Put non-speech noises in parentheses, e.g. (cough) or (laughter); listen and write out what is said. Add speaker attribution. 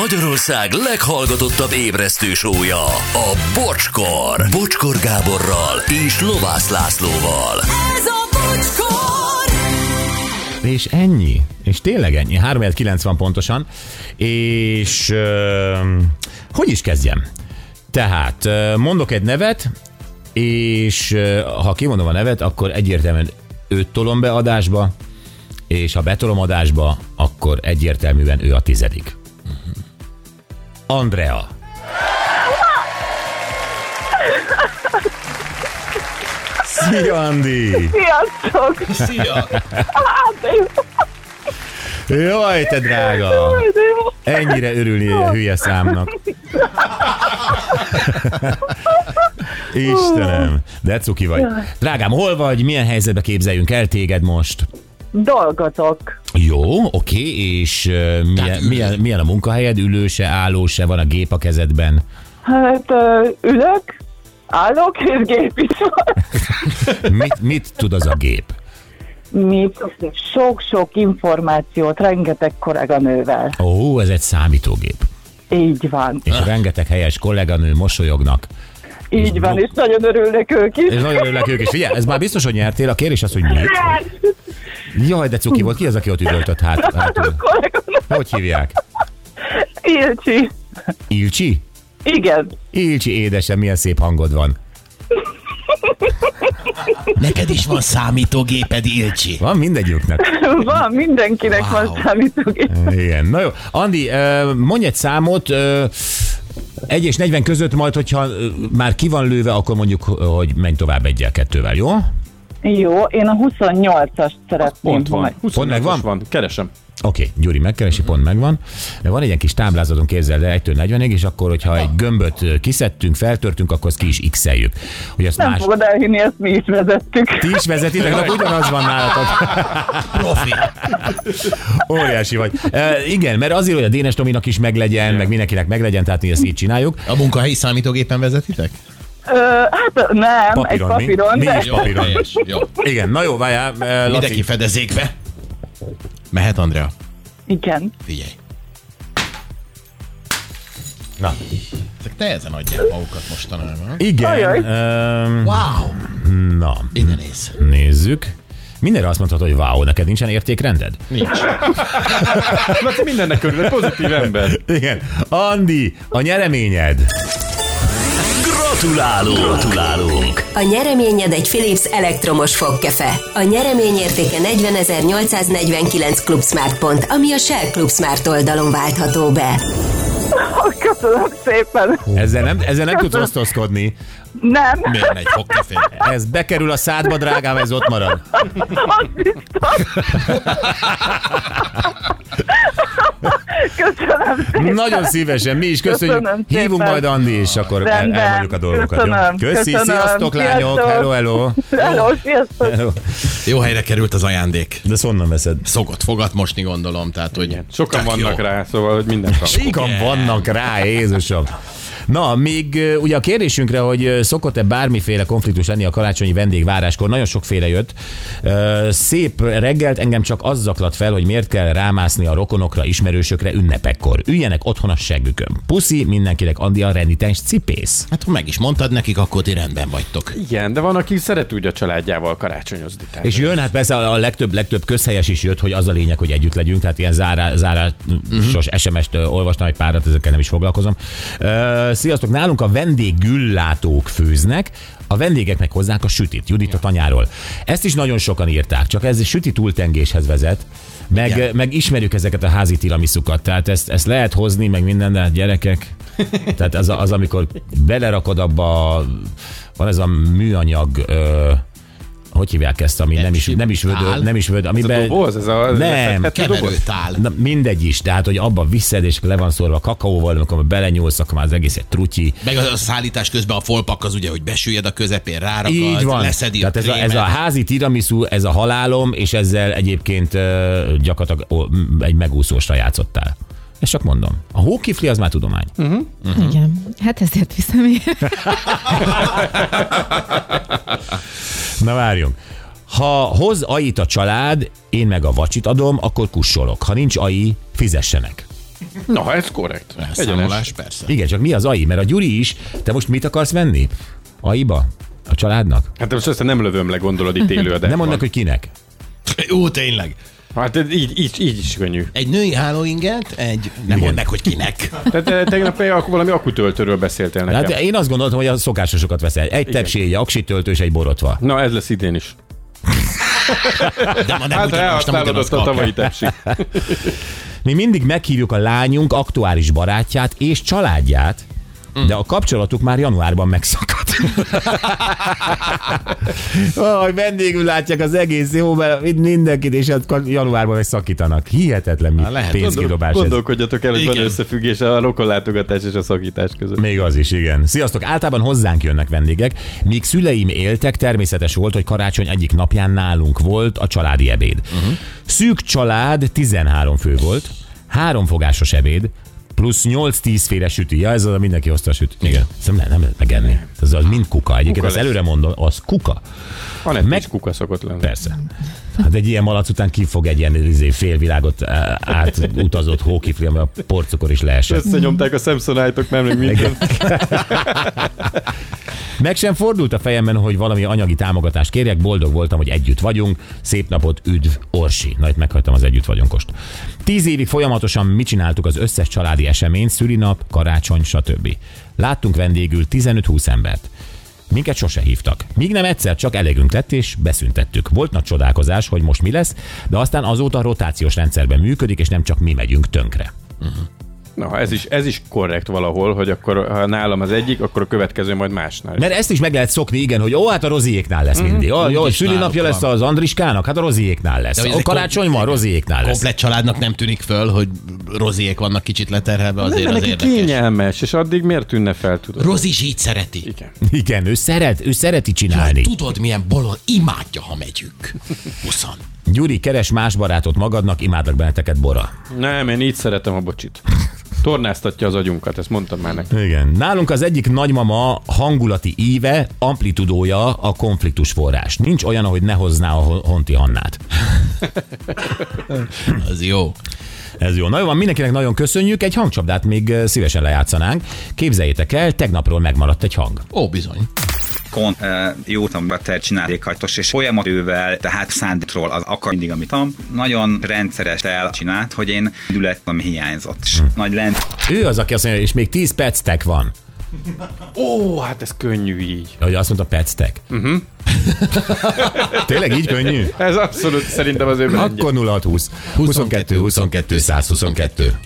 Speaker 1: Magyarország leghallgatottabb ébresztő sója, a Bocskor. Bocskor Gáborral és Lovász Lászlóval.
Speaker 2: Ez a bocskor!
Speaker 3: És ennyi. És tényleg ennyi. 390 pontosan. És ö, hogy is kezdjem? Tehát ö, mondok egy nevet, és ö, ha kimondom a nevet, akkor egyértelműen őt tolom be adásba, és ha betolom adásba, akkor egyértelműen ő a tizedik. Andrea. Szia, Andi!
Speaker 4: Sziasztok!
Speaker 5: Szia!
Speaker 4: Hát ez
Speaker 3: Jaj, te drága! Ennyire örülni a hülye számnak. Istenem, de cuki vagy. Drágám, hol vagy, milyen helyzetbe képzeljünk el téged most?
Speaker 4: Dolgotok.
Speaker 3: Jó, oké, és ö, milyen,
Speaker 5: ülő.
Speaker 3: milyen, milyen a munkahelyed? Ülőse, állóse, van a gép a kezedben?
Speaker 4: Hát ö, ülök, állok, és gép is van.
Speaker 3: Mit, mit tud az a gép?
Speaker 4: Mit? Sok-sok információt rengeteg kolléganővel.
Speaker 3: Ó, ez egy számítógép.
Speaker 4: Így van.
Speaker 3: És rengeteg helyes kolléganő mosolyognak.
Speaker 4: Így van, és nagyon örülnek ők
Speaker 3: És
Speaker 4: is.
Speaker 3: nagyon örülnek ők is. Figyelj, ez már biztos, hogy nyertél. A kérdés az, hogy mit? Jaj, de cuki volt. Ki az, aki ott üvöltött hát, hátul?
Speaker 4: Kolléganő.
Speaker 3: Hogy hívják?
Speaker 4: Ilcsi.
Speaker 3: Ilcsi?
Speaker 4: Igen.
Speaker 3: Ilcsi, édesem, milyen szép hangod van.
Speaker 5: Neked is van számítógéped, Ilcsi.
Speaker 3: Van mindegyiknek.
Speaker 4: Van, mindenkinek wow.
Speaker 5: Wow.
Speaker 4: van számítógép.
Speaker 3: Igen. Na jó. Andi, ö, mondj egy számot, 1 és 40 között majd, hogyha ö, már ki van lőve, akkor mondjuk, hogy menj tovább egyel, kettővel, jó?
Speaker 4: Jó, én a 28-ast szeretném.
Speaker 6: Pont
Speaker 4: ha
Speaker 6: van.
Speaker 4: meg-
Speaker 6: 28-as
Speaker 3: megvan?
Speaker 6: van. Keresem.
Speaker 3: Oké, Gyuri megkeresi, pont megvan. De van egy ilyen kis táblázatunk, képzeld el 1-től 40-ig, és akkor, hogyha egy gömböt ö, kiszedtünk, feltörtünk, akkor azt ki is x-eljük. Hogy azt
Speaker 4: Nem
Speaker 3: más...
Speaker 4: fogod elhinni, ezt mi is vezettük.
Speaker 3: Ti is vezetitek, akkor ugyanaz van nálatok.
Speaker 5: Profi.
Speaker 3: Óriási vagy. E, igen, mert azért, hogy a Dénes Tominak is meglegyen, meg mindenkinek meglegyen, tehát mi ezt így csináljuk.
Speaker 5: A munkahelyi számítógépen vezetitek?
Speaker 4: Ö, hát nem,
Speaker 3: Papíron,
Speaker 4: egy papíron,
Speaker 3: mi?
Speaker 4: de...
Speaker 3: Mi is papíron.
Speaker 5: helyes, Jó.
Speaker 3: Igen, na jó, várjál, e,
Speaker 5: Mindenki
Speaker 3: Laci.
Speaker 5: fedezékbe. Mehet, Andrea?
Speaker 4: Igen.
Speaker 5: Figyelj.
Speaker 3: Na.
Speaker 5: Ezek nehezen adják magukat mostanában.
Speaker 3: Igen.
Speaker 4: Ajaj.
Speaker 3: Um,
Speaker 5: Wow!
Speaker 3: na,
Speaker 5: Ide néz.
Speaker 3: nézzük. Mindenre azt mondhatod, hogy wow, neked nincsen értékrended?
Speaker 5: Nincs.
Speaker 6: Laci Hát, mindennek örülök, pozitív ember.
Speaker 3: Igen. Andi, a nyereményed.
Speaker 1: Gratulálunk! Gratulálunk!
Speaker 2: A nyereményed egy Philips elektromos fogkefe. A nyeremény értéke 40.849 klubsmart pont, ami a Shell klubsmart oldalon váltható be.
Speaker 4: Köszönöm szépen.
Speaker 3: Ezzel nem, ezzel nem tudsz osztozkodni.
Speaker 4: Nem,
Speaker 5: Miért megy fogkefé?
Speaker 3: Ez bekerül a szádba, drágám, ez ott marad.
Speaker 4: az biztos. Köszönöm szépen.
Speaker 3: Nagyon szívesen, mi is köszönjük.
Speaker 4: Köszönöm szépen.
Speaker 3: Hívunk majd Andi, és akkor el,
Speaker 4: Rendben.
Speaker 3: elmondjuk a dolgokat. jó?
Speaker 4: Köszönöm,
Speaker 3: Köszi,
Speaker 4: köszönöm.
Speaker 3: sziasztok lányok,
Speaker 4: Sziasztok.
Speaker 3: hello, hello.
Speaker 4: Hello, sziasztok.
Speaker 3: hello.
Speaker 5: Jó helyre került az ajándék.
Speaker 3: De ezt honnan veszed?
Speaker 5: Szokott fogat mosni, gondolom, tehát hogy...
Speaker 6: Sokan
Speaker 5: Tök
Speaker 6: vannak
Speaker 5: jó.
Speaker 6: rá, szóval hogy minden kap.
Speaker 3: Sokan vannak rá, Jézusom. Na, még ö, ugye a kérdésünkre, hogy ö, szokott-e bármiféle konfliktus lenni a karácsonyi vendégváráskor, nagyon sokféle jött. Ö, Szép reggelt engem csak az zaklat fel, hogy miért kell rámászni a rokonokra, ismerősökre ünnepekkor. Üljenek otthon a seggükön. Puszi, mindenkinek Andi a renitens cipész.
Speaker 5: Hát ha meg is mondtad nekik, akkor ti rendben vagytok.
Speaker 6: Igen, de van, aki szeret úgy a családjával karácsonyozni. Tehát.
Speaker 3: És jön, hát persze a legtöbb, legtöbb közhelyes is jött, hogy az a lényeg, hogy együtt legyünk, tehát ilyen zárá, zárásos uh-huh. SMS-t ö, olvastam egy párat, ezekkel nem is foglalkozom. Ö, Sziasztok, nálunk a vendéggüllátók főznek, a vendégeknek hozzák a sütit, Judit a tanyáról. Ezt is nagyon sokan írták, csak ez süti túltengéshez vezet, meg,
Speaker 5: Igen.
Speaker 3: meg ismerjük ezeket a házi tiramisukat, tehát ezt, ezt lehet hozni, meg minden, de hát gyerekek, tehát az, a- az amikor belerakod abba, a- van ez a műanyag, ö, hogy hívják ezt, ami nem is,
Speaker 5: Emsi-
Speaker 3: nem is vödör,
Speaker 5: tál?
Speaker 3: nem is vödör,
Speaker 6: Ez a
Speaker 3: amiben...
Speaker 6: doboz, ez a...
Speaker 3: Nem,
Speaker 6: ez a doboz.
Speaker 5: Keverőtál.
Speaker 3: Na, mindegy is, tehát, hogy abba viszed, és le van szórva kakaóval, amikor belenyúlsz, akkor már az egész egy trutyi.
Speaker 5: Meg a szállítás közben a folpak az ugye, hogy besüllyed a közepén, rárakod,
Speaker 3: Így van.
Speaker 5: leszedi
Speaker 3: Tehát
Speaker 5: a
Speaker 3: ez a, ez a
Speaker 5: krémet.
Speaker 3: házi tiramisu, ez a halálom, és ezzel egyébként ö, gyakorlatilag ó, m- egy megúszósra játszottál. Ezt csak mondom. A hókifli az már tudomány.
Speaker 7: Igen, hát ezért viszem én.
Speaker 3: Na várjunk. Ha hoz ait a család, én meg a vacsit adom, akkor kussolok. Ha nincs ai, fizessenek.
Speaker 6: Na, ez korrekt. Egyenes.
Speaker 5: Elszámolás, persze.
Speaker 3: Igen, csak mi az AI? Mert a Gyuri is, te most mit akarsz venni? AI-ba? A családnak?
Speaker 6: Hát most ezt nem lövöm le, gondolod itt élő
Speaker 3: De nem mondnak, hogy kinek.
Speaker 5: Ó, tényleg.
Speaker 6: Hát ez így, így, így is könnyű.
Speaker 5: Egy női hálóinget, egy... Nem mondd meg, hogy (laughs) kinek.
Speaker 6: Te, te, eh, tegnap például akkor valami akutöltőről beszéltél nekem.
Speaker 3: Hát én azt gondoltam, hogy a szokásosokat veszel. Egy tepsi, egy aksi töltős, egy borotva.
Speaker 6: Na, ez lesz idén is.
Speaker 5: De ma nem
Speaker 6: Hát
Speaker 5: ugyanaz, nem
Speaker 6: elhasználod
Speaker 5: ugyanaz
Speaker 6: azt a
Speaker 5: kap.
Speaker 6: tavalyi tepsi.
Speaker 3: Mi mindig meghívjuk a lányunk aktuális barátját és családját,
Speaker 5: Mm.
Speaker 3: de a kapcsolatuk már januárban
Speaker 5: (laughs)
Speaker 3: megszakadt. Ahogy vendégül látják az egész jó, mert itt mindenkit, és akkor januárban meg szakítanak. Hihetetlen mi
Speaker 5: Hát lehet,
Speaker 3: (laughs) pénzkidobás ez.
Speaker 6: Gondolkodjatok el, hogy van
Speaker 5: Igen.
Speaker 6: összefüggés a rokonlátogatás és a szakítás között.
Speaker 3: Még az is, igen. Sziasztok! Általában hozzánk jönnek vendégek. Míg szüleim éltek, természetes volt, hogy karácsony egyik napján nálunk volt a családi ebéd.
Speaker 6: Mhm.
Speaker 3: Uh-huh. Szűk család 13 fő volt, háromfogásos ebéd, plusz 8-10 féle süti. Ja, ez az, a mindenki hozta a süt. Igen. Szerintem nem, nem lehet megenni. Ez az mind kuka. Egyébként
Speaker 6: Kuka
Speaker 3: kuka
Speaker 6: lesz.
Speaker 3: előre mondom, az kuka.
Speaker 6: Van egy
Speaker 3: Meg-
Speaker 6: kis kuka szokott lenni.
Speaker 3: Persze. Hát egy ilyen malac után ki fog egy ilyen izé, félvilágot á, átutazott hókifli, amivel a porcukor is leesett.
Speaker 6: Összenyomták a Samsonite-ok, nem még minden.
Speaker 3: Meg sem fordult a fejemben, hogy valami anyagi támogatást kérjek, boldog voltam, hogy együtt vagyunk. Szép napot, üdv, Orsi. Na, itt meghagytam az együtt vagyunkost. Tíz évig folyamatosan mi csináltuk az összes családi eseményt, szülinap, karácsony, stb. Láttunk vendégül 15-20 embert. Minket sose hívtak. Míg nem egyszer csak elegünk lett és beszüntettük. Volt nagy csodálkozás, hogy most mi lesz, de aztán azóta rotációs rendszerben működik, és nem csak mi megyünk tönkre.
Speaker 6: Na, ez is, ez is korrekt valahol, hogy akkor ha nálam az egyik, akkor a következő majd másnál.
Speaker 3: Mert ezt is meg lehet szokni, igen, hogy ó, hát a Roziéknál lesz
Speaker 5: Mhm.
Speaker 3: mindig. Ó, jó,
Speaker 5: Úgyis
Speaker 3: szülinapja
Speaker 5: náluk
Speaker 3: lesz az Andriskának, hát a Roziéknál lesz.
Speaker 5: De hogy ez
Speaker 3: A
Speaker 5: egy
Speaker 3: karácsony
Speaker 5: kom-
Speaker 3: van,
Speaker 5: igen.
Speaker 3: Roziéknál lesz.
Speaker 5: Komplett családnak nem tűnik föl, hogy roziék vannak kicsit leterhelve, azért
Speaker 6: Nem,
Speaker 5: az
Speaker 6: neki
Speaker 5: érdekes.
Speaker 6: kényelmes, és addig miért tűnne fel, tudod?
Speaker 5: Rozi is így szereti.
Speaker 6: Igen.
Speaker 3: Igen, ő szeret, ő szereti
Speaker 5: Hát
Speaker 3: csinálni.
Speaker 5: Tudod, milyen bolond imádja, ha megyünk. Huszan.
Speaker 3: Gyuri, keres más barátot magadnak, imádlak benneteket, Bora.
Speaker 6: Nem, én így szeretem a bocsit. Tornáztatja az agyunkat, ezt mondtam már neki.
Speaker 3: Igen. Nálunk az egyik nagymama hangulati íve, amplitudója a konfliktus forrás. Nincs olyan, hogy ne hozná a Hon- Honti Hannát.
Speaker 5: Az jó.
Speaker 3: Ez jó. Na jó, van, mindenkinek nagyon köszönjük. Egy hangcsapdát még eh, szívesen lejátszanánk. Képzeljétek el, tegnapról megmaradt egy hang.
Speaker 5: Ó, bizony.
Speaker 8: kon e, jótan beter csinálékhatos, és folyamatővel, tehát szándékról az akar mindig, amit am. Nagyon rendszeres elcsinált, hogy én dület, ami hiányzott. És nagy lent
Speaker 3: Ő az, aki azt mondja, és még 10 perctek van.
Speaker 6: Ó, hát ez könnyű így.
Speaker 3: Hogy azt mondta, pectek. Uh-huh. (laughs) Tényleg így könnyű?
Speaker 6: Ez abszolút szerintem az ő brandje.
Speaker 3: Akkor 0620 22 22 122.